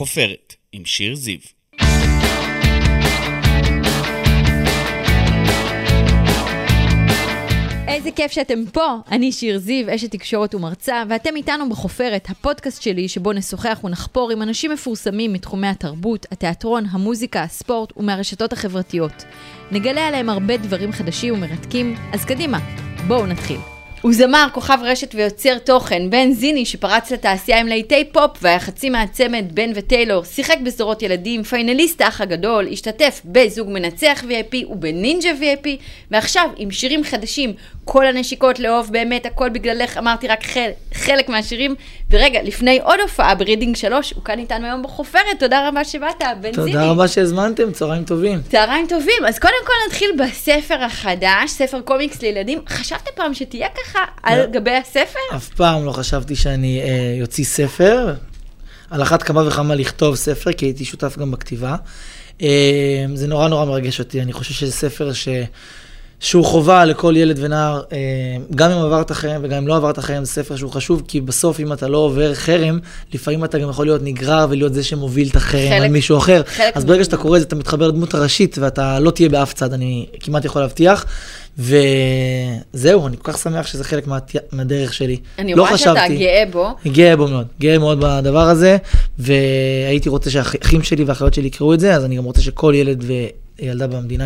החופרת, עם שיר זיו. איזה כיף שאתם פה, אני שיר זיו, אשת תקשורת ומרצה, ואתם איתנו בחופרת, הפודקאסט שלי שבו נשוחח ונחפור עם אנשים מפורסמים מתחומי התרבות, התיאטרון, המוזיקה, הספורט ומהרשתות החברתיות. נגלה עליהם הרבה דברים חדשים ומרתקים, אז קדימה, בואו נתחיל. הוא זמר, כוכב רשת ויוצר תוכן, בן זיני שפרץ לתעשייה עם להיטי פופ והיה חצי מהצמד בן וטיילור, שיחק בסדרות ילדים, פיינליסט האח הגדול, השתתף בזוג מנצח VIP ובנינג'ה VIP, ועכשיו עם שירים חדשים, כל הנשיקות לאהוב באמת, הכל בגללך, אמרתי רק חל, חלק מהשירים, ורגע, לפני עוד הופעה ברידינג 3, הוא כאן איתנו היום בחופרת, תודה רבה שבאת, בן זיני. תודה רבה שהזמנתם, צהריים טובים. צהריים טובים, אז קודם כל נתחיל בספר החדש, ספר קומיקס לילדים. חשבת פעם שתהיה ככה על לא. גבי הספר? אף פעם לא חשבתי שאני אה, יוציא ספר. על אחת כמה וכמה לכתוב ספר, כי הייתי שותף גם בכתיבה. אה, זה נורא נורא מרגש אותי, אני חושב שזה ספר ש... שהוא חובה לכל ילד ונער, אה, גם אם עברת חרם וגם אם לא עברת חרם, זה ספר שהוא חשוב, כי בסוף אם אתה לא עובר חרם, לפעמים אתה גם יכול להיות נגרר ולהיות זה שמוביל את החרם חלק- על מישהו אחר. חלק אז ברגע מ- שאתה קורא את זה, אתה מתחבר לדמות הראשית, ואתה לא תהיה באף צד, אני כמעט יכול להבטיח. וזהו, אני כל כך שמח שזה חלק מה... מהדרך שלי. אני לא רואה שאתה חשבתי. גאה בו. גאה בו מאוד, גאה מאוד בדבר הזה, והייתי רוצה שהאחים שלי והאחיות שלי יקראו את זה, אז אני גם רוצה שכל ילד וילדה במדינה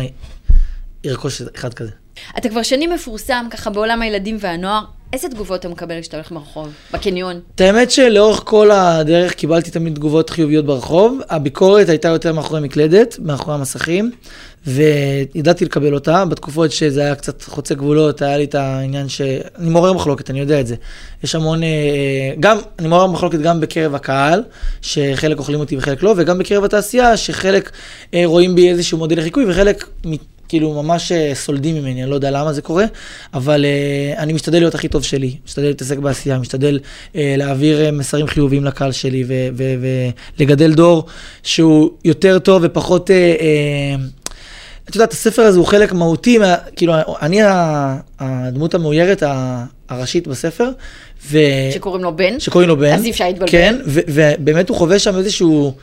ירכוש אחד כזה. אתה כבר שנים מפורסם ככה בעולם הילדים והנוער. איזה תגובות אתה מקבל כשאתה הולך ברחוב, בקניון? את האמת שלאורך כל הדרך קיבלתי תמיד תגובות חיוביות ברחוב. הביקורת הייתה יותר מאחורי מקלדת, מאחורי המסכים, וידעתי לקבל אותה. בתקופות שזה היה קצת חוצה גבולות, היה לי את העניין ש... אני מעורר מחלוקת, אני יודע את זה. יש המון... אה, גם, אני מעורר מחלוקת גם בקרב הקהל, שחלק אוכלים אותי וחלק לא, וגם בקרב התעשייה, שחלק אה, רואים בי איזשהו מודל לחיקוי, וחלק... מת- כאילו ממש אה, סולדים ממני, אני לא יודע למה זה קורה, אבל אה, אני משתדל להיות הכי טוב שלי, משתדל להתעסק בעשייה, משתדל אה, להעביר אה, מסרים חיוביים לקהל שלי ולגדל דור שהוא יותר טוב ופחות... אה, אה, את יודעת, הספר הזה הוא חלק מהותי, מה, כאילו, אני ה- הדמות המאוירת ה- הראשית בספר, ו... שקוראים לו בן? אה, שקוראים לו בן. אז אי אפשר להתבלבל. כן, ו- ובאמת הוא חווה שם איזשהו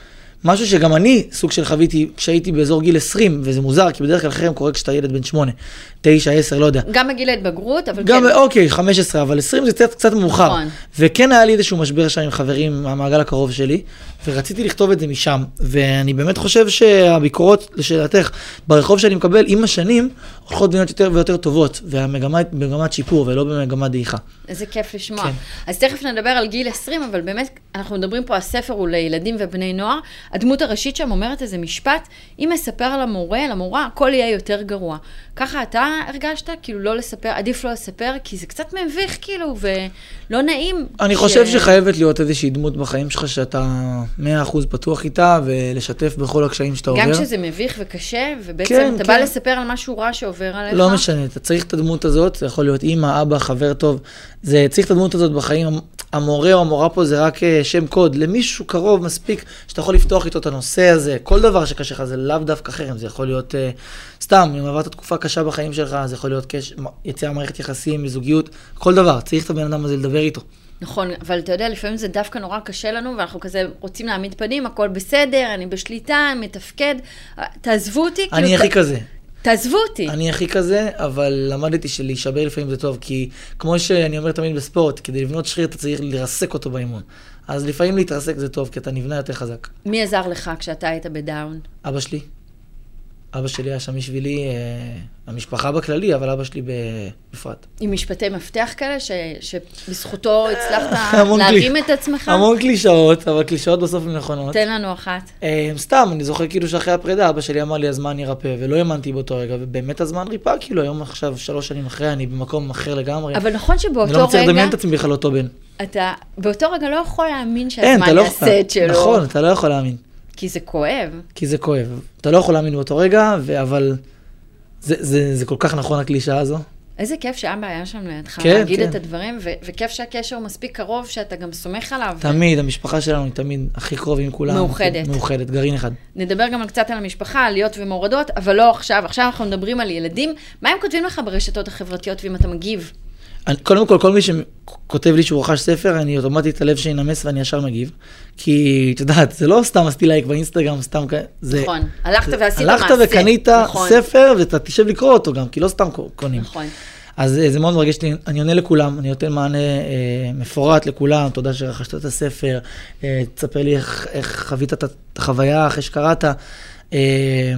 משהו שגם אני סוג של חוויתי כשהייתי באזור גיל 20, וזה מוזר, כי בדרך כלל חרם קורה כשאתה ילד בן 8, 9, 10, לא יודע. גם בגיל ההתבגרות, אבל גם, כן. אוקיי, 15, אבל 20 זה קצת, קצת מאוחר. נכון. וכן היה לי איזשהו משבר שם עם חברים מהמעגל הקרוב שלי, ורציתי לכתוב את זה משם. ואני באמת חושב שהביקורות, לשאלתך, ברחוב שאני מקבל, עם השנים, הולכות להיות יותר ויותר טובות, והמגמה היא במגמת שיפור ולא במגמת דעיכה. איזה כיף לשמוע. כן. אז תכף נדבר על גיל 20, אבל באמת, אנחנו מדברים פה, הספר הוא לילדים ובני נוער. הדמות הראשית שם אומרת איזה משפט, אם אספר למורה, למורה, הכל יהיה יותר גרוע. ככה אתה הרגשת? כאילו לא לספר, עדיף לא לספר, כי זה קצת מביך, כאילו, ולא נעים. אני חושב שחייבת להיות איזושהי דמות בחיים שלך שאתה 100% פתוח איתה, ולשתף בכל הקשיים שאתה עובר. גם כשזה מביך וקשה, ובעצם כן, אתה בא כן. לספר על משהו רע שעובר עליך. לא משנה, אתה צריך את הדמות הזאת, זה יכול להיות אימא, אבא, חבר טוב. זה, צריך את הדמות הזאת בחיים. המ- המורה או המורה פה זה רק אה, שם קוד. למישהו קרוב מספיק שאתה יכול לפתוח איתו את הנושא הזה. כל דבר שקשה לך זה לאו דווקא חרם, זה יכול להיות אה, סתם, אם עברת תקופה קשה בחיים שלך, זה יכול להיות קש... מ- יציאה מערכת יחסים, זוגיות, כל דבר. צריך את הבן אדם הזה לדבר איתו. נכון, אבל אתה יודע, לפעמים זה דווקא נורא קשה לנו, ואנחנו כזה רוצים להעמיד פנים, הכל בסדר, אני בשליטה, אני מתפקד. תעזבו אותי, כאילו, אני ת- הכי כזה. תעזבו אותי. אני הכי כזה, אבל למדתי שלהישבר לפעמים זה טוב, כי כמו שאני אומר תמיד בספורט, כדי לבנות שריר אתה צריך לרסק אותו באימון. אז לפעמים להתרסק זה טוב, כי אתה נבנה יותר חזק. מי עזר לך כשאתה היית בדאון? אבא שלי, אבא שלי היה שם בשבילי, אה, המשפחה בכללי, אבל אבא שלי בפרט. עם משפטי מפתח כאלה, ש... שבזכותו הצלחת המון כלי- להרים את עצמך? המון קלישאות, אבל קלישאות בסוף הן נכונות. נכון. תן לנו אחת. אה, סתם, אני זוכר כאילו שאחרי הפרידה, אבא שלי אמר לי, הזמן ירפא, ולא האמנתי באותו רגע, ובאמת הזמן ריפא, כאילו, היום עכשיו, שלוש שנים אחרי, אני במקום אחר לגמרי. אבל נכון אני שבאותו לא מצליח רגע, לדמיין את עצמי בכלל אותו בן. אתה באותו רגע לא יכול להאמין אין, אתה שהזמן לא יעשה את שלו. נכון, אתה לא יכול להאמין, כי זה כואב. כי זה כואב. אתה לא יכול להאמין באותו רגע, ו- אבל זה, זה, זה כל כך נכון הקלישאה הזו. איזה כיף שאבא היה שם לידך, כן, להגיד כן. את הדברים, ו- וכיף שהקשר הוא מספיק קרוב, שאתה גם סומך עליו. תמיד, המשפחה שלנו היא תמיד הכי קרוב עם כולם. מאוחדת. מאוחדת, גרעין אחד. נדבר גם על קצת על המשפחה, עליות ומורדות, אבל לא עכשיו. עכשיו אנחנו מדברים על ילדים. מה הם כותבים לך ברשתות החברתיות ואם אתה מגיב? אני, קודם כל, כל מי שכותב לי שהוא רכש ספר, אני אוטומטית הלב שינמס ואני ישר מגיב. כי, את יודעת, זה לא סתם עשיתי לייק באינסטגרם, סתם כ... זה... נכון. הלכת זה- ועשית הלכת מעשה. וקנית נכון. ספר, ואתה תשב לקרוא אותו גם, כי לא סתם ק- קונים. נכון. אז אה, זה מאוד מרגש אותי, אני עונה לכולם, אני נותן מענה אה, מפורט לכולם, תודה שרכשת את הספר, אה, תספר לי איך, איך חווית את החוויה אחרי שקראת. אה,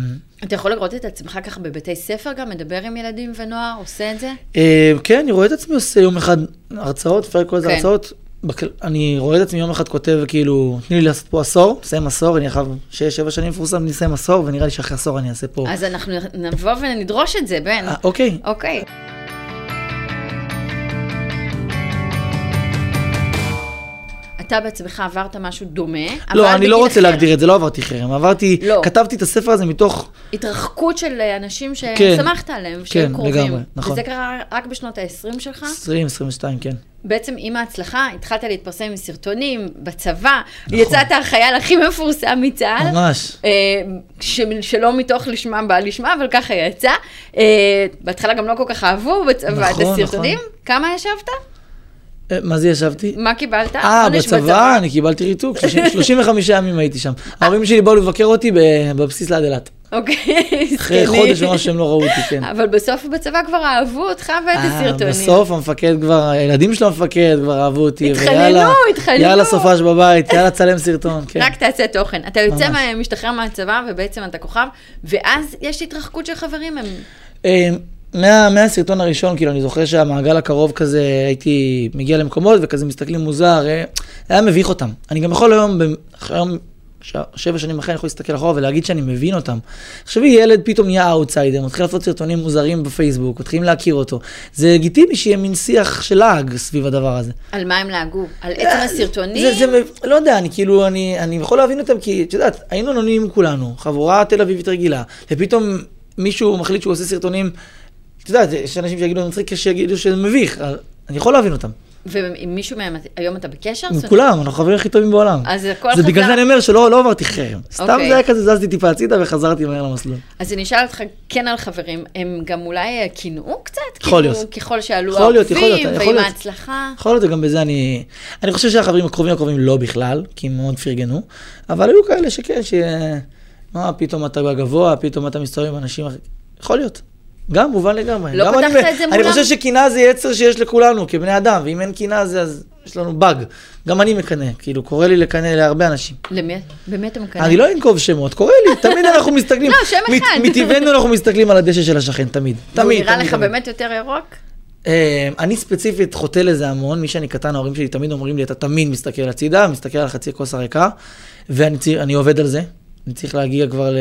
אתה יכול לראות את עצמך ככה בבתי ספר גם, מדבר עם ילדים ונוער, עושה את זה? אה, כן, אני רואה את עצמי עושה יום אחד הרצאות, פרק כל איזה כן. הרצאות. בכל- אני רואה את עצמי יום אחד כותב, כאילו, תני לי לעשות פה עשור, נסיים עשור, אני אחריו שש, שבע שנים מפורסם, נסיים עשור, ונראה לי שאחרי עשור אני אעשה פה. אז אנחנו נבוא ונדרוש את זה, בן. אה, אוקיי, אוקיי. אתה בעצמך עברת משהו דומה, אבל לא, אני לא בגיל רוצה אחר. להגדיר את זה, לא עברתי חרם, עברתי, לא. כתבתי את הספר הזה מתוך התרחקות של אנשים כן. ששמחת עליהם, כן, שהם קרובים. לגמרי, נכון. וזה קרה רק בשנות ה-20 שלך? 20, 22, כן. בעצם עם ההצלחה התחלת להתפרסם עם סרטונים, בצבא, נכון. יצאת החייל הכי מפורסם מצה"ל. ממש. אה, ש... שלא מתוך לשמם בא לשמה, אבל ככה יצא. אה, בהתחלה גם לא כל כך אהבו בצבא נכון, את הסרטונים. נכון. כמה ישבת? אה, מה זה ישבתי? מה קיבלת? אה, עונש בצבא, אני קיבלתי ריתוק, 30 35 ימים הייתי שם. ההורים שלי באו לבקר אותי ב- בבסיס ליד אילת. אוקיי, אחרי זקנים. חודש ממש שהם לא ראו אותי, כן. אבל בסוף בצבא כבר אהבו אותך ואת אה, הסרטונים. בסוף המפקד כבר, הילדים של המפקד כבר אהבו אותי. התחננו, ויאללה, התחננו. יאללה, סופש בבית, יאללה, צלם סרטון, כן. רק תעשה תוכן. אתה יוצא, ממש. מה- משתחרר מהצבא, ובעצם אתה כוכב, ואז יש התרחקות של חברים, הם... אה, מה- מהסרטון הראשון, כאילו, אני זוכר שהמעגל הקרוב כזה, הייתי מגיע למקומות וכזה מסתכלים מוזר, אה, היה מביך אותם. אני גם יכול היום, ב- היום, ש- שבע שנים אחרי, אני יכול להסתכל אחורה ולהגיד שאני מבין אותם. תחשבי, ילד פתאום נהיה אאוטסיידר, מתחיל לעשות סרטונים מוזרים בפייסבוק, מתחילים להכיר אותו. זה לגיטימי שיהיה מין שיח של לעג סביב הדבר הזה. על מה הם לעגו? על עצם הסרטונים? אה, זה, זה, מב- לא יודע, אני כאילו, אני, אני יכול להבין אותם, כי את יודעת, היינו אנונימיים כולנו, חבורה תל אביבית רגילה, ופתאום מישהו מחליט שהוא עושה סרטונים, את יודעת, יש אנשים שיגידו זה מצחיק, יש שיגידו שזה מביך, אז אני יכול להבין אותם. ועם מישהו מהם, היום אתה בקשר? עם כולם, אנחנו החברים הכי טובים בעולם. לא אז הכל זה בגלל חזר- זה אני אומר שלא לא עברתי חרם. סתם אוקיי. זה היה כזה, זזתי טיפה הצידה וחזרתי מהר למסלול. אז אני אשאל אותך כן על חברים, הם גם אולי אה, קינאו קצת? יכול כאילו, להיות. ככל שעלו יכול להיות, יכול העוקבים, להיות, יכול ועם להיות. ההצלחה. יכול להיות גם בזה אני... אני חושב שהחברים הקרובים הקרובים לא בכלל, כי הם מאוד פרגנו, אבל היו כאלה שכן, ש... מה, פתאום אתה גבוה, פתאום אתה מסתובב עם אנשים אחרים. יכול להיות. גם, מובן לגמרי. לא גם פתחת אני, את זה אני מולם? חושב שקנאה זה יצר שיש לכולנו, כבני אדם, ואם אין קנאה זה אז יש לנו באג. גם אני מקנא, כאילו, קורה לי לקנא להרבה אנשים. למי? במי אתה מקנא? אני לא אנקוב שמות, קורה לי, תמיד אנחנו מסתכלים. לא, שם מת- אחד. מטבענו אנחנו מסתכלים על הדשא של השכן, תמיד. והוא תמיד, לא, נראה תמיד, לך תמיד. באמת יותר ירוק? אה, אני ספציפית חוטא לזה המון, מי שאני קטן, ההורים שלי תמיד אומרים לי, אתה תמיד מסתכל הצידה, מסתכל על חצי הכוס הריקה, ואני צי- אני עובד על זה. אני צריך להגיע כבר ל...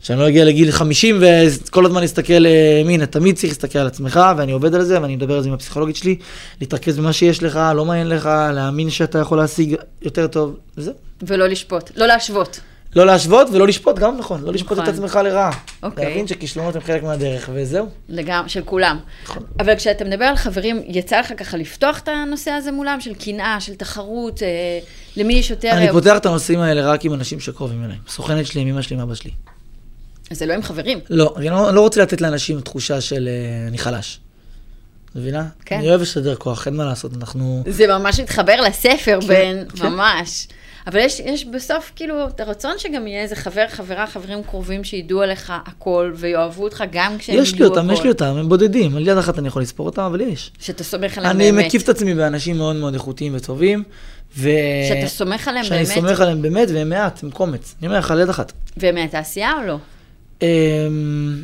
שאני לא אגיע לגיל 50 וכל הזמן להסתכל אה, ימינה, תמיד צריך להסתכל על עצמך, ואני עובד על זה, ואני מדבר על זה עם הפסיכולוגית שלי, להתרכז במה שיש לך, לא מעניין לך, להאמין שאתה יכול להשיג יותר טוב, וזהו. ולא לשפוט, לא להשוות. לא להשוות ולא לשפוט, גם נכון, לא לשפוט את נכון. עצמך לרעה. אוקיי. להבין שכישלונות הם חלק מהדרך, וזהו. לגמרי, של כולם. נכון. אבל כשאתה מדבר על חברים, יצא לך ככה לפתוח את הנושא הזה מולם, של קנאה, של תחרות, אה, למי יש יותר... אני אה, פותח את הנושאים האלה רק עם אנשים שקרובים אליי. סוכנת שלי, עם אמא שלי, עם אבא שלי. זה לא עם חברים. לא, אני לא, אני לא רוצה לתת לאנשים תחושה של אה, אני חלש. מבינה? כן. אני אוהב לשדר כוח, אין מה לעשות, אנחנו... זה ממש מתחבר לספר, בן, כן. ממש. אבל יש, יש בסוף כאילו את הרצון שגם יהיה איזה חבר, חברה, חברים קרובים שידעו עליך הכל ויאהבו אותך גם כשהם יש לי יהיו אותם, הכל. יש לי אותם, הם בודדים, על יד אחת אני יכול לספור אותם, אבל יש. שאתה סומך עליהם אני באמת. מקיף את עצמי באנשים מאוד מאוד איכותיים וטובים, ו... שאתה סומך עליהם שאני באמת, סומך עליהם באמת, והם מעט, הם קומץ. אני אומר לך, על יד אחת. והם מהתעשייה או לא? אמ,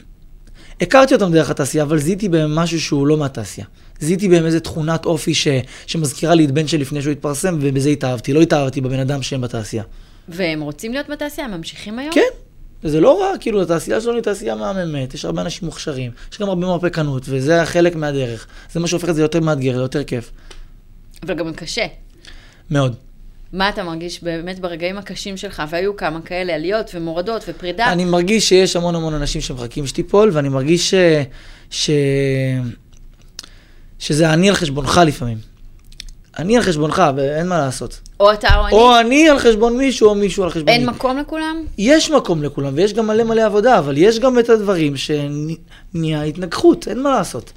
הכרתי אותם דרך התעשייה, אבל זיהיתי בהם משהו שהוא לא מהתעשייה. זיהיתי בהם איזה תכונת אופי ש... שמזכירה לי את בן שלי לפני שהוא התפרסם, ובזה התאהבתי. לא התאהבתי בבן אדם שהם בתעשייה. והם רוצים להיות בתעשייה, הם ממשיכים היום? כן, וזה לא רע, כאילו, התעשייה שלנו היא תעשייה מהממת, יש הרבה אנשים מוכשרים, יש גם הרבה מרפקנות, וזה חלק מהדרך. זה מה שהופך את זה יותר מאתגר, ליותר כיף. אבל גם קשה. מאוד. מה אתה מרגיש באמת ברגעים הקשים שלך, והיו כמה כאלה עליות ומורדות ופרידה? אני מרגיש שיש המון המון אנשים שמחכים שתיפול, ואני מרגיש ש... ש... שזה אני על חשבונך לפעמים. אני על חשבונך, ואין מה לעשות. או אתה או אני? או אני על חשבון מישהו, או מישהו על חשבון אין מקום לכולם? יש מקום לכולם, ויש גם מלא מלא עבודה, אבל יש גם את הדברים שנהיה התנגחות, אין מה לעשות.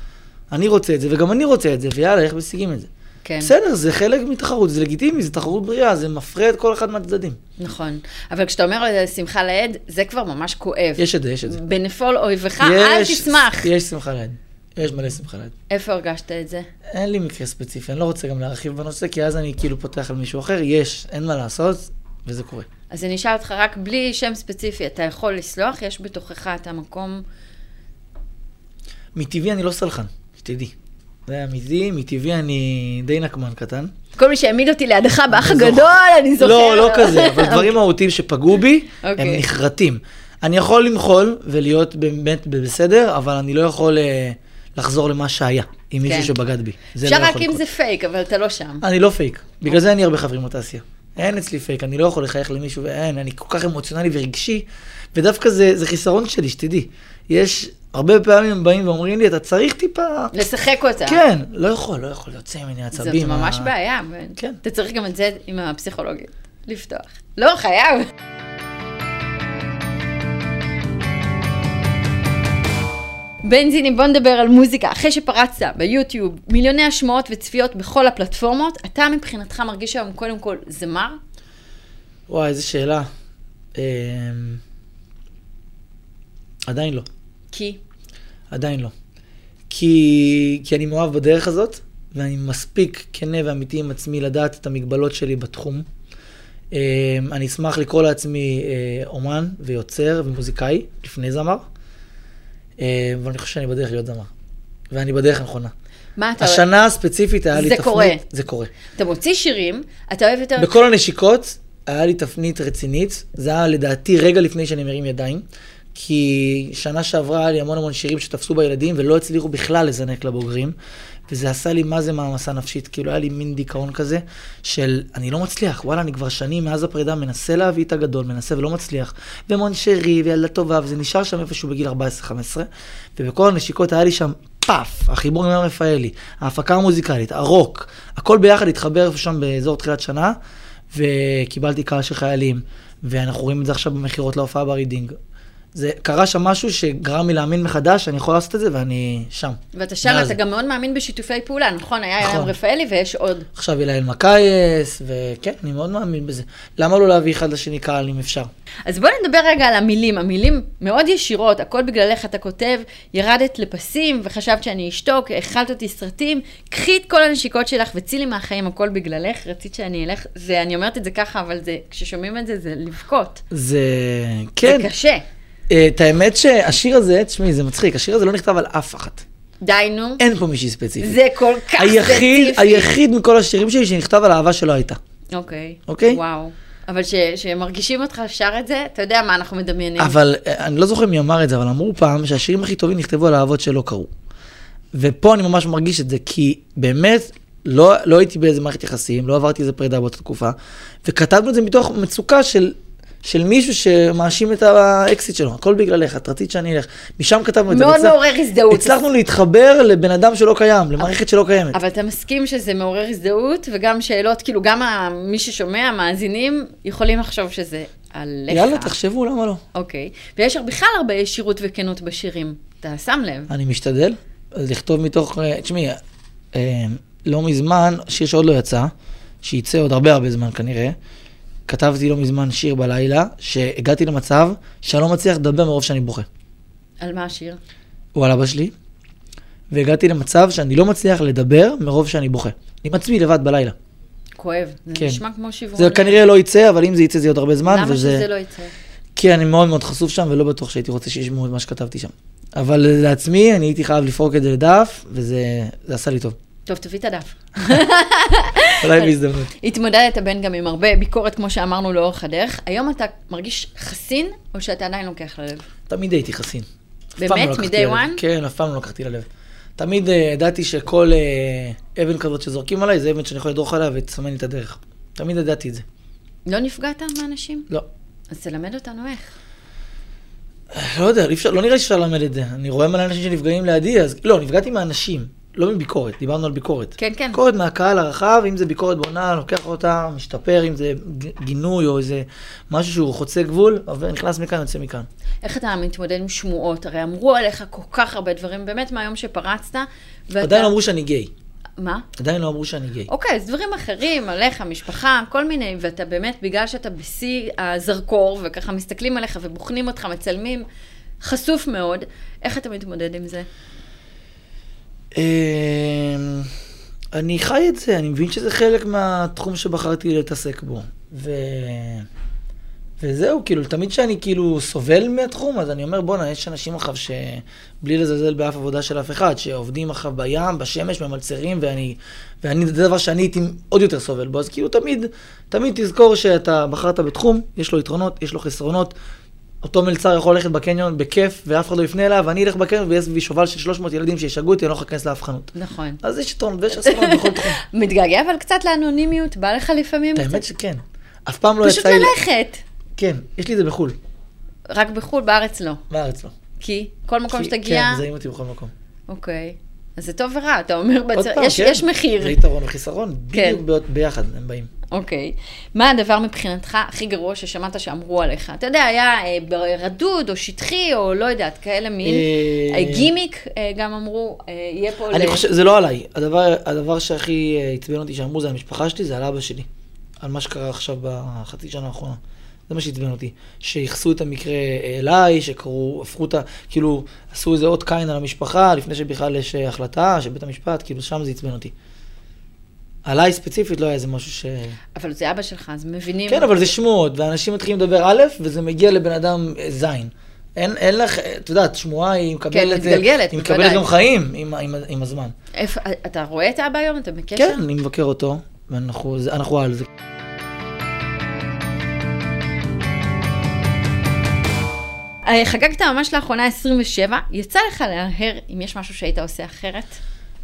אני רוצה את זה, וגם אני רוצה את זה, ויאללה, איך משיגים את זה? כן. בסדר, זה חלק מתחרות, זה לגיטימי, זה תחרות בריאה, זה מפרה את כל אחד מהצדדים. נכון. אבל כשאתה אומר אה, שמחה לאיד, זה כבר ממש כואב. יש את זה, יש את זה. בנפול אויבך, אל יש- תשמח. יש שמחה ליד. יש מלא שמחה ליד. איפה הרגשת את זה? אין לי מקרה ספציפי, אני לא רוצה גם להרחיב בנושא, כי אז אני כאילו פותח על מישהו אחר, יש, אין מה לעשות, וזה קורה. אז אני אשאל אותך רק בלי שם ספציפי, אתה יכול לסלוח? יש בתוכך את המקום... מטבעי אני לא סלחן, שתדעי. זה אמיתי, מטבעי אני די נקמן קטן. כל מי שהעמיד אותי לידך באח אני זוכר. הגדול, אני זוכרת. לא, לא כזה, אבל דברים מהותיים שפגעו בי, הם אוקיי. נחרטים. אני יכול למחול ולהיות באמת בסדר, אבל אני לא יכול אה, לחזור למה שהיה עם מישהו כן. שבגד בי. זה אפשר לא יכול רק אם לקרות. זה פייק, אבל אתה לא שם. אני לא פייק, בגלל זה אין לי הרבה חברים בתעשייה. אין אצלי פייק, אני לא יכול לחייך למישהו, ואין, אני כל כך אמוציונלי ורגשי, ודווקא זה, זה חיסרון שלי, שתדעי. יש, הרבה פעמים הם באים ואומרים לי, אתה צריך טיפה... לשחק אותה. כן, לא יכול, לא יכול, יוצא ממני זאת עצבים. ממש ה- בעיה. כן. אתה צריך גם את זה עם הפסיכולוגית, לפתוח. לא, חייב. בנזיני, בוא נדבר על מוזיקה. אחרי שפרצת ביוטיוב, מיליוני השמעות וצפיות בכל הפלטפורמות, אתה מבחינתך מרגיש היום קודם כל זמר? וואי, איזה שאלה. אמ, עדיין לא, כי? עדיין לא. כי, כי אני מאוהב בדרך הזאת, ואני מספיק כנה ואמיתי עם עצמי לדעת את המגבלות שלי בתחום. אמ, אני אשמח לקרוא לעצמי אה, אומן ויוצר ומוזיקאי, לפני זמר, אמ, ואני חושב שאני בדרך להיות זמר. ואני בדרך הנכונה. מה אתה אוהב? השנה הספציפית היה לי זה תפנית... קורה. זה קורה. אתה מוציא שירים, אתה אוהב יותר... בכל הנשיקות, היה לי תפנית רצינית. זה היה לדעתי רגע לפני שאני מרים ידיים. כי שנה שעברה היה לי המון המון שירים שתפסו בילדים ולא הצליחו בכלל לזנק לבוגרים. וזה עשה לי מה זה מעמסה נפשית, כאילו היה לי מין דיכאון כזה של אני לא מצליח, וואלה, אני כבר שנים מאז הפרידה מנסה להביא את הגדול, מנסה ולא מצליח. ומונשרי וילדה טובה, וזה נשאר שם איפשהו בגיל 14-15, ובכל הנשיקות היה לי שם פאף, החיבור עם ים רפאלי, ההפקה המוזיקלית, הרוק, הכל ביחד התחבר איפה שם באזור תחילת שנה, וקיבלתי קהל של חיילים, ואנחנו רואים את זה עכשיו במכירות להופעה ברידינג. זה קרה שם משהו שגרם לי להאמין מחדש שאני יכול לעשות את זה, ואני שם. ואתה שם, מאז. אתה גם מאוד מאמין בשיתופי פעולה, נכון? היה נכון. ים רפאלי ויש עוד. עכשיו אלה אלמקייס, וכן, אני מאוד מאמין בזה. למה לא להביא אחד לשני קהל אם אפשר? אז בואו נדבר רגע על המילים. המילים מאוד ישירות, הכל בגללך אתה כותב, ירדת לפסים וחשבת שאני אשתוק, אכלת אותי סרטים, קחי את כל הנשיקות שלך וצילי מהחיים, הכל בגללך, רצית שאני אלך. זה, אני אומרת את זה ככה, אבל זה, כששומעים את זה, זה לבכות. זה... כן. זה קשה. אה, את האמת שהשיר הזה, תשמעי, זה מצחיק, השיר הזה לא נכתב על אף אחת. די נו. אין פה מישהי ספציפית. זה כל כך כן. היחיד, ספציפי. היחיד מכל השירים שלי שנכתב על אהבה שלא הייתה. אוקיי. אוקיי? וואו. אבל ש- שמרגישים אותך שר את זה, אתה יודע מה אנחנו מדמיינים. אבל אה, אני לא זוכר מי אמר את זה, אבל אמרו פעם שהשירים הכי טובים נכתבו על אהבות שלא קרו. ופה אני ממש מרגיש את זה, כי באמת לא, לא הייתי באיזה מערכת יחסים, לא עברתי איזה פרידה באותה תקופה, וכתבנו את זה מתוך מצוקה של, של מישהו שמאשים את האקסיט שלו, הכל בגללך, את רצית שאני אלך. משם כתבנו את זה. מאוד והצלח- מעורר הזדהות. הצלחנו להתחבר לבן אדם שלא קיים, למערכת שלא קיימת. אבל אתה מסכים שזה מעורר הזדהות, וגם שאלות, כאילו גם ה- מי ששומע, מאזינים, יכולים לחשוב שזה עליך. יאללה, תחשבו, למה לא? אוקיי. ויש בכלל הרבה ישירות וכנות בשירים, אתה שם לב. אני משתדל לכתוב מתוך, אה, תשמעי, אה, לא מזמן, שיר שעוד לא יצא, שייצא עוד הרבה הרבה זמן כנראה, כתבתי לא מזמן שיר בלילה, שהגעתי למצב שאני לא מצליח לדבר מרוב שאני בוכה. על מה השיר? הוא על אבא שלי, והגעתי למצב שאני לא מצליח לדבר מרוב שאני בוכה. עם עצמי לבד בלילה. כואב. זה כן. נשמע כמו שברון. זה כנראה לא יצא, אבל אם זה יצא זה יהיה עוד הרבה זמן, למה וזה... שזה לא יצא? כי אני מאוד מאוד חשוף שם, ולא בטוח שהייתי רוצה שישמעו את מה שכתבתי שם. אבל לעצמי, אני הייתי חייב לפרוק את זה לדף, וזה זה עשה לי טוב. טוב, תביא את הדף. אולי כן. בהזדמנות. התמודדת בין גם עם הרבה ביקורת, כמו שאמרנו, לאורך הדרך. היום אתה מרגיש חסין, או שאתה עדיין לוקח ללב? תמיד הייתי חסין. אף פעם באמת? לא לקחתי מ-day ללב. one? כן, אף פעם לא לקחתי ללב. תמיד אה, ידעתי שכל אה, אבן כזאת שזורקים עליי, זה אבן שאני יכול לדרוך עליה ותסמן לי את הדרך. תמיד ידעתי את זה. לא נפגעת מאנשים? לא. אז תלמד אותנו איך. לא יודע, אי אפשר, לא נראה לי שאפשר ללמד את זה. אני רואה מלא אנשים שנפגעים לידי, אז... לא, נפגעתי מאנשים. לא מביקורת, דיברנו על ביקורת. כן, כן. ביקורת מהקהל הרחב, אם זה ביקורת בונה, לוקח אותה, משתפר, אם זה ג- גינוי או איזה משהו שהוא חוצה גבול, עובר- נכנס מכאן, יוצא מכאן. איך אתה מתמודד עם שמועות? הרי אמרו עליך כל כך הרבה דברים, באמת מהיום שפרצת. ואתה- עדיין לא אמרו שאני גיי. מה? עדיין לא אמרו שאני גיי. אוקיי, אז דברים אחרים, עליך, משפחה, כל מיני, ואתה באמת, בגלל שאתה בשיא הזרקור, וככה מסתכלים עליך ובוחנים אותך, מצלמים, חשוף מאוד, איך אתה מתמודד עם זה? אמ, אני חי את זה, אני מבין שזה חלק מהתחום שבחרתי להתעסק בו. ו... וזהו, כאילו, תמיד כשאני כאילו סובל מהתחום, אז אני אומר, בואנה, יש אנשים עכשיו שבלי לזלזל באף עבודה של אף אחד, שעובדים עכשיו בים, בשמש, במלצרים, ואני, ואני, זה דבר שאני הייתי עוד יותר סובל בו, אז כאילו תמיד, תמיד תזכור שאתה בחרת בתחום, יש לו יתרונות, יש לו חסרונות, אותו מלצר יכול ללכת בקניון בכיף, ואף אחד לא יפנה אליו, ואני אלך בקניון ויהיה סביבי שובל של 300 ילדים שישגעו אותי, אני לא יכול להיכנס לאף חנות. נכון. אז יש יתרון ויש אסונות בכל תחום. מתגעגע אבל קצת לאנונימיות, בא לך לפעמים קצת? האמת שכן. אף פעם לא פשוט יצא לי... ללכת. כן, יש לי את זה בחו"ל, רק בחו"ל, בארץ לא. בארץ לא. כי כל מקום כי- שתגיע... כן, מזהים אותי בכל מקום. אוקיי. אז זה טוב ורע, אתה אומר, עוד בצ... פעם, יש, כן, יש מחיר. זה יתרון וחיסרון, כן. בדיוק באות- ביחד הם באים. אוקיי. מה הדבר מבחינתך הכי גרוע ששמעת שאמרו עליך? אתה יודע, היה אה, ב- רדוד או שטחי או לא יודעת, כאלה מין. אה, אה, גימיק אה, גם אמרו, אה, יהיה פה... אני ל- חושב, זה לא עליי. הדבר, הדבר שהכי אה, עצבן אותי שאמרו זה על המשפחה שלי, זה על אבא שלי. על מה שקרה עכשיו בחצי שנה האחרונה. זה מה שעצבן אותי. שייחסו את המקרה אה, אליי, שקראו, הפכו את ה... כאילו, עשו איזה אות קין על המשפחה, לפני שבכלל יש אה, החלטה של בית המשפט, כאילו, שם זה עצבן אותי. עליי ספציפית לא היה איזה משהו ש... אבל זה אבא שלך, אז מבינים. כן, אבל זה שמועות, ואנשים מתחילים לדבר א', וזה מגיע לבן אדם אה, זין. אין, אין לך, אה, את יודעת, שמועה היא מקבלת... כן, מתגלגלת, היא מקבלת בוודאי. גם חיים עם, ה- עם, ה- עם הזמן. איפה- אה, אתה רואה את אבא היום? אתה בקשר? כן, אני מבקר אותו, ואנחנו זה- אנחנו על זה. אה, חגגת ממש לאחרונה 27, יצא לך להרהר אם יש משהו שהיית עושה אחרת?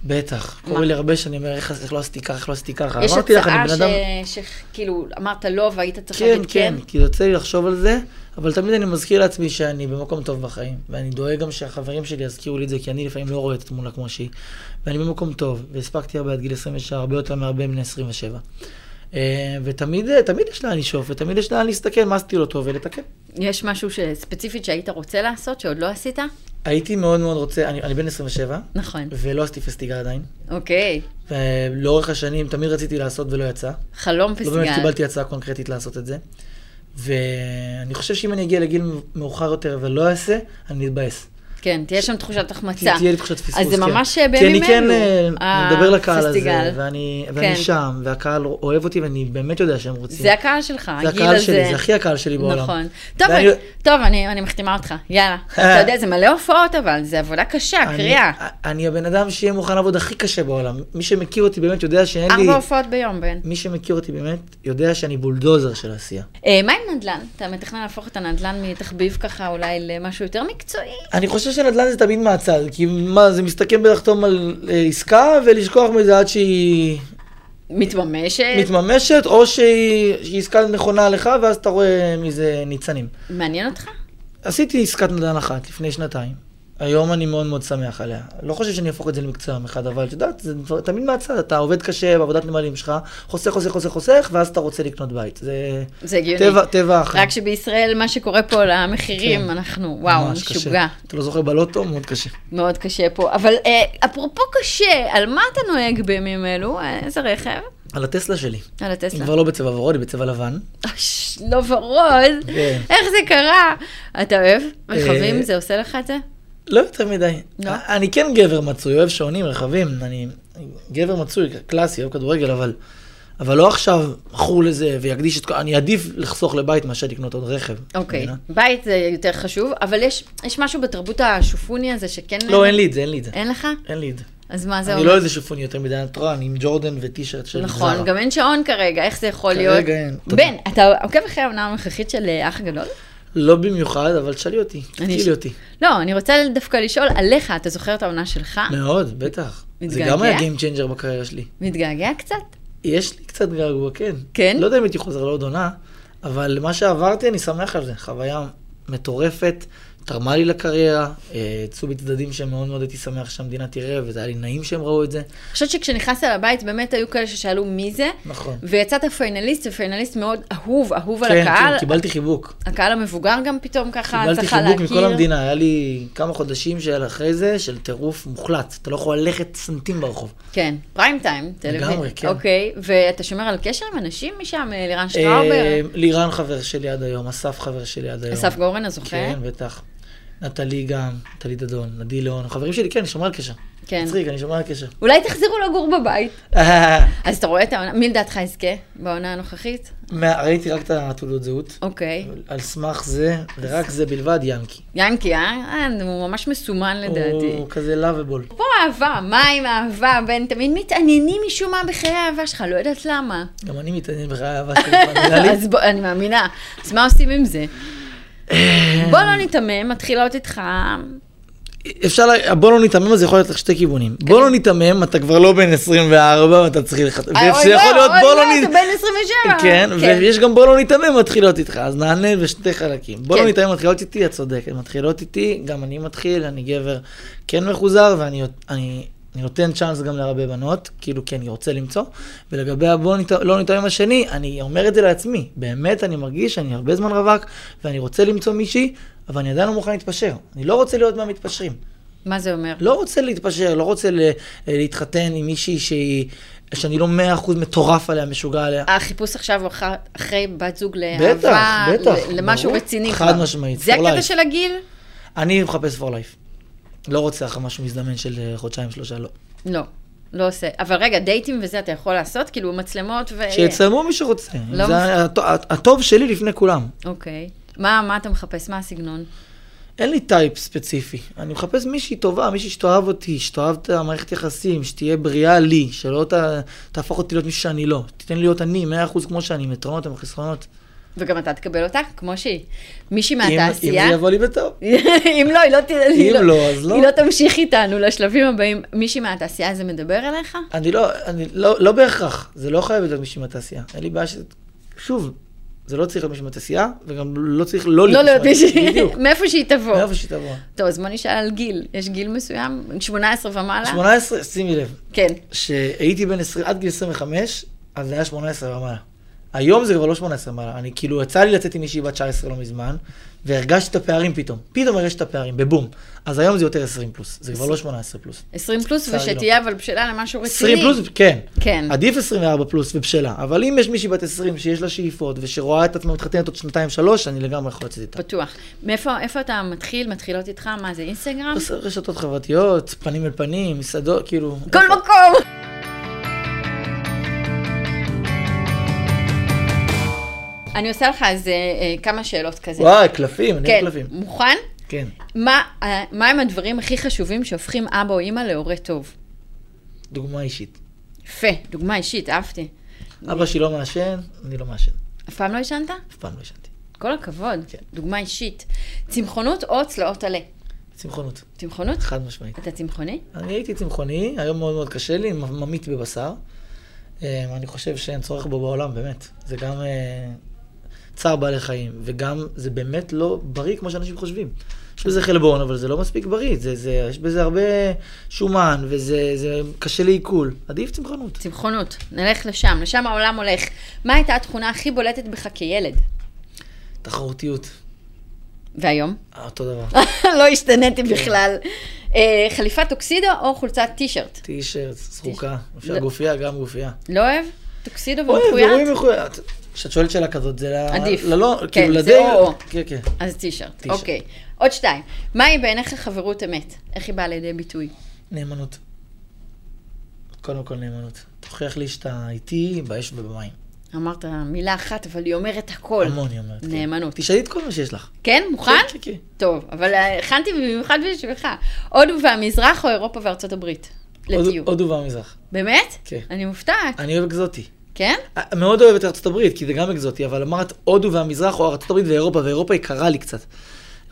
בטח, מה? קורה לי הרבה שאני אומר, "איך- איך לא עשיתי ככה, איך לא עשיתי ככה. יש אמרתי לך, אני הצעה בן אדם... שכאילו אמרת לא והיית צריך כן, להגיד כן, כן? כי יוצא לי לחשוב על זה, אבל תמיד אני מזכיר לעצמי שאני במקום טוב בחיים, ואני דואג גם שהחברים שלי יזכירו לי את זה, כי אני לפעמים לא רואה את התמונה כמו שהיא, ואני במקום טוב, והספקתי הרבה עד גיל 27, הרבה יותר מהרבה בני 27. אה, ותמיד אה, תמיד יש לאן לשאוף, ותמיד יש לאן להסתכל מה עשיתי לא טוב ולתקן. יש משהו ש- ספציפית שהיית רוצה לעשות שעוד לא עשית? הייתי מאוד מאוד רוצה, אני אני בן 27, נכון. ולא עשיתי פסטיגה עדיין, אוקיי, ולאורך השנים תמיד רציתי לעשות ולא יצא. חלום לא באמת פסגל. קיבלתי הצעה קונקרטית לעשות את זה. ואני חושב שאם אני אגיע לגיל מאוחר יותר ולא אעשה, אני אתבאס. כן, תהיה שם תחושת החמצה. תהיה תהיה לי תחושת פספוס, אז זה כן. ממש כי בימים אני כן אלו, אה, אני מדבר לקהל הזה, הפסטיגל. ואני כן. ואני שם, והקהל אוהב אותי, ואני באמת יודע שהם רוצים. זה הקהל שלך, זה הגיל הקהל הזה. שלי, זה הכי הקהל שלי בעולם. נכון. טוב, ואני- אני- טוב, אני אני מחתימה אותך, יאללה. אתה יודע, זה מלא הופעות אבל, זה עבודה קשה, אני- קריאה. אני הבן אדם שיהיה מוכן לעבוד הכי קשה בעולם. מי שמכיר אותי באמת יודע שאין לי... ארבע הופעות ביום, בן. מי שמכיר אותי באמת יודע שאני בולדוזר של עשייה. אה, מה עם נדל"ן? אתה מתכנן להפוך את הנדל"ן מתחביב ככה אולי למשהו יותר מקצועי? אני חושב שנדל"ן זה תמיד מהצד, כי מה, זה מסתכם בלחתום על אה, עסקה ולשכוח מזה עד שהיא מתממשת? מתממשת, או שהיא שהיא עסקה נכונה לך, ואז אתה רואה מזה ניצנים. מעניין אותך? עשיתי עסקת נדל"ן אחת לפני שנתיים. היום אני מאוד מאוד שמח עליה. לא חושב שאני אהפוך את זה למקצוע יום אחד, אבל את יודעת, זה דבר- תמיד מהצד, אתה עובד קשה בעבודת נמלים שלך, חוסך, חוסך, חוסך, חוסך, ואז אתה רוצה לקנות בית. זה זה הגיוני. טבע, טבע אחר. רק שבישראל, מה שקורה פה למחירים, כן. אנחנו, וואו, ממש קשה. משוגע. אתה לא זוכר בלוטו? מאוד קשה. מאוד קשה פה. אבל אה, אפרופו קשה, על מה אתה נוהג בימים אלו? אה, איזה רכב? על הטסלה שלי. על היא הטסלה. כבר לא בצבע ורוד, היא בצבע לבן. אש, לא ורוד, כן. איך זה קרה? אתה אוהב רכבים? אה, זה עושה לך את זה? לא יותר מדי. לא? אני כן גבר מצוי, אוהב שעונים, רכבים, אני גבר מצוי, קלאסי, אוהב כדורגל, אבל, אבל לא עכשיו מכור לזה ויקדיש את כל... אני עדיף לחסוך לבית מאשר לקנות עוד רכב. אוקיי, מבינה? בית זה יותר חשוב, אבל יש, יש משהו בתרבות השופוני הזה שכן... לא, אין לי את זה, אין לי את זה. אין לך? אין לי את זה. אז מה אה? זה אני לא איזה שופוני יותר מדי, את רואה, אני עם ג'ורדן וטישרט של נכון, זרה. גם אין שעון כרגע, איך זה יכול כרגע להיות? אין. בן, אתה עוקב אחרי העונה הנוכחית של אה, האח הגדול? לא במיוחד, אבל תשאלי אותי, אני- תשאלי אותי. לא, אני רוצה דווקא לשאול עליך, אתה זוכר את העונה שלך? מאוד, בטח. זה מתגעגע? גם היה Game Changer בקריירה שלי. מתגעגע קצת? יש לי קצת געגוע, כן. כן? לא יודע אם הייתי חוזר לעוד עונה, אבל מה שעברתי, אני שמח על זה. חוויה מטורפת, תרמה לי לקריירה, אה, יצאו בי צדדים שמאוד מאוד הייתי שמח שהמדינה תראה, וזה היה לי נעים שהם ראו את זה. אני חושבת שכשנכנסת לבית באמת היו כאלה ששאלו מי זה, נכון. ויצאת פיינליסט, ופיינליסט מאוד אהוב, אהוב על כן, הקהל. כן, קיבלתי חיבוק. הקהל המבוגר גם פתאום ככה קיבלתי צריך להכיר. חיבוק מכל המדינה, היה לי כמה חודשים של אחרי זה, של טירוף מוחלט. אתה לא יכול ללכת סנטים ברחוב. כן, פריים טיים, טלוויזיה. לגמרי, כן. אוקיי, ואתה שומר על קשר עם אנשים משם, אה, לירן אה, שטראובר, לירן חבר שלי עד היום, אסף חבר שלי עד היום. אסף גורן, הזוכה. כן, בטח. נטלי גם, נטלי דדון, נדי ליאון, חברים שלי, כן, אני שומר על קשר. כן. מצחיק, אני שומר על קשר. אולי תחזרו לגור בבית. אה, אז אתה רואה את העונה, מי לדעתך יזכה בעונה הנוכחית? מה- ראיתי רק את התעודות זהות. אוקיי. על סמך זה, ורק זה בלבד, ינקי. ינקי, אה? אה? הוא ממש מסומן לדעתי. הוא כזה לאביבול. פה אהבה, מה עם אהבה, בן, תמיד מתעניינים משום מה בחיי האהבה שלך, לא יודעת למה. גם אני מתעניין בחיי האהבה שלי, כבר נראה לי. אז בוא, אני מאמינה. אז מה עושים עם זה? בוא לא ניתמם, מתחילות איתך. אפשר, לה- בוא לא ניתמם, אז יכול להיות לך שתי כיוונים. כן. בוא לא ניתמם, אתה כבר לא בן 24 ואתה צריך לחתום. אוי, וזה לא, יכול להיות אוי, בוא לא, לא אתה ניתמם. בן 27. כן, ויש גם בוא לא ניתמם מתחילות איתך, אז נענה בשתי חלקים. בוא כן. לא ניתמם מתחילות איתי, את צודקת. מתחילות איתי, גם אני מתחיל, אני גבר כן מחוזר, ואני אני- אני נותן צ'אנס גם להרבה בנות, כאילו כי אני רוצה למצוא. ולגבי הבוא ניט- לא ניתמם השני, אני אומר את זה לעצמי. באמת, אני מרגיש שאני הרבה זמן רווק, ואני רוצה למצוא מישהי, אבל אני עדיין לא מוכן להתפשר. אני לא רוצה להיות מהמתפשרים. מה זה אומר? לא רוצה להתפשר, לא רוצה ל- להתחתן עם מישהי שהיא... שאני לא מאה אחוז מטורף עליה, משוגע עליה. החיפוש עכשיו הוא אחר- אחרי בת זוג לאהבה, בטח, בטח, ל- למשהו ברור. רציני. חד כבר. משמעית, זה for הקטע life. של הגיל? אני מחפש for life. לא רוצה אחרי משהו מזדמן של אה, חודשיים, שלושה, לא. לא, לא עושה. אבל רגע, דייטים וזה אתה יכול לעשות? כאילו מצלמות ו... שיצלמו מי שרוצה. לא זה מפ- הט- הטוב שלי לפני כולם. אוקיי. מה מה אתה מחפש? מה הסגנון? אין לי טייפ ספציפי. אני מחפש מישהי טובה, מישהי שתאהב אותי, שתאהב את המערכת יחסים, שתהיה בריאה לי, שלא ת... תהפוך אותי להיות מישהו שאני לא. תיתן לי להיות אני, 100% כמו שאני, עם יתרונות עם חסרונות. וגם אתה תקבל אותה, כמו שהיא. מישהי אם, אם מהתעשייה. זה יבוא לי בטוב. אם לא, היא לא ת... אם לא, אז לא. היא לא תמשיך איתנו לשלבים הבאים. מישהי מהתעשייה הזה מדבר אליך? אני לא, אני לא, לא בהכרח, זה לא חייב להיות מישהי מהתעשייה. אין לי בעיה ש... שוב, זה לא צריך להיות מישהי מהתעשייה, וגם לא צריך לא לא להיות מישהי, בדיוק. מאיפה שהיא תבוא. מאיפה שתבוא. טוב, אז בוא נשאל על גיל. יש גיל מסוים? 18 ומעלה? 18, שימי לב, כן. כשהייתי בן 20, עד גיל 25, אז זה היה 18 ומעלה. היום זה כבר לא 18 ומעלה. אני כאילו, יצא לי לצאת עם מישהי בת 19 לא מזמן, והרגשתי את הפערים פתאום. פתאום הרגשתי את הפערים, בבום. אז היום זה יותר 20 פלוס, זה כבר לא 18 פלוס. 20 פלוס, צר לי לא. ושתהיה אבל בשלה למשהו רציני. 20 פלוס, כן. כן. עדיף 24 פלוס ובשלה. אבל אם יש מישהי בת 20 שיש לה שאיפות, ושרואה את עצמה מתחתנת עוד שנתיים-שלוש, אני לגמרי יכול לצאת איתה. פתוח. מאיפה איפה אתה מתחיל? מתחילות איתך? מה זה, אינסטגרם? עושה רשתות חברתיות, פנים אל פנים, מסעדות, כאילו... כל מקום! אני עושה לך אז אה, אה, כמה שאלות כזה. וואי, קלפים, אני אוהב כן, קלפים. מוכן? כן. מה, אה, מה הם הדברים הכי חשובים שהופכים אבא או אימא להורה טוב? דוגמה אישית. יפה, דוגמה אישית, אהבתי. אבא שלי לא מעשן, אני לא מעשן. אף פעם לא עישנת? אף פעם לא עישנתי. כל הכבוד, כן. דוגמה אישית. צמחונות או צלעות עלה? צמחונות, צמחונות? חד משמעית. אתה צמחוני? אני הייתי צמחוני, היום מאוד מאוד קשה לי, מ- ממית בבשר. אה, אני חושב שאין צורך בו בעולם, באמת. זה גם אה, צער בעלי חיים, וגם זה באמת לא בריא כמו שאנשים חושבים. יש בזה חלבון, אבל זה לא מספיק בריא. זה, זה, יש בזה הרבה שומן, וזה זה קשה לעיכול. עדיף צמחונות. צמחונות, נלך לשם, לשם העולם הולך. מה הייתה התכונה הכי בולטת בך כילד? תחרותיות, והיום? אה, אותו דבר. לא השתניתי בכלל. אה, חליפת טוקסידו או חולצת טישרט? טישרט, זרוקה. לא. אפשר גופייה, גם גופייה. לא אוהב? טוקסידו אוי, ומחויית? אירועים מחויית. כשאת שואלת שאלה כזאת, זה ל- עדיף. ללא, כן, כאילו זה לדי... או-או. כן, כן. אז טישרט, טישרט. אוקיי. עוד שתיים. מהי בעיניך חברות אמת? איך היא באה לידי ביטוי? נאמנות. קודם כל נאמנות. תוכיח לי שאתה איתי באש ובמים. אמרת מילה אחת, אבל היא אומרת הכל. המון, היא אומרת. כן. נאמנות. תשאלי את כל מה שיש לך. כן? מוכן? כן, כן, כן. טוב, אבל אה, הכנתי במיוחד בשבילך. הודו והמזרח או אירופה וארצות הברית? הודו- לטיול. הודו והמזרח. באמת? כן. אני מופתעת. אני אוהב אקזוטי. כן? אה, מאוד אוהב את ארצות הברית, כי זה גם אקזוטי, אבל אמרת הודו והמזרח או ארצות הברית ואירופה, ואירופה יקרה לי קצת.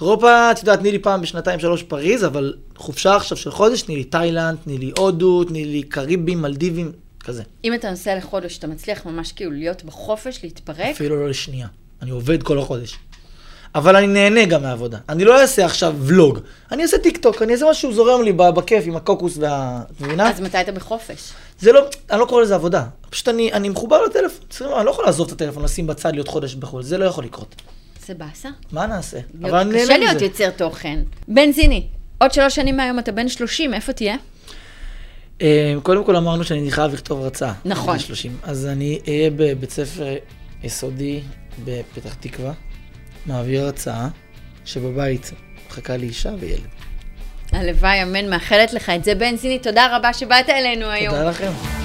אירופה, את יודעת, תני לי פעם בשנתיים שלוש פריז, אבל חופשה עכשיו של חודש, תני לי תאילנד, תני לי הודו, תני לי קריבים, מלדיבים, כזה. אם אתה נוסע לחודש, אתה מצליח ממש כאילו להיות בחופש, להתפרק? אפילו לא לשנייה. אני עובד כל החודש. אבל אני נהנה גם מהעבודה. אני לא אעשה עכשיו ולוג, אני אעשה טיק טוק, אני אעשה משהו זורם לי ב- בכיף עם הקוקוס וה... את מבינה? אז מתי אתה בחופש? זה לא, אני לא קורא לזה עבודה. פשוט אני, אני מחובר לטלפון, בסדר, אני לא יכול לעזוב את הטלפון, לשים בצד, להיות חודש בחו"ל, זה לא יכול לקרות. זה באסה. מה נעשה? להיות- אבל אני נהנה מזה. קשה להיות יוצר תוכן. בנזיני, עוד שלוש שנים מהיום אתה בן 30, איפה תהיה? אה, קודם כל אמרנו שאני חייב לכתוב הרצאה. נכון. בגיל 30. אז אני אהיה בבית ספר יסודי בפתח תקווה, מעביר הרצאה, שבבית מחכה לי אישה וילד. הלוואי, אמן, מאחלת לך את זה. בנזיני, תודה רבה שבאת אלינו היום. תודה לכם.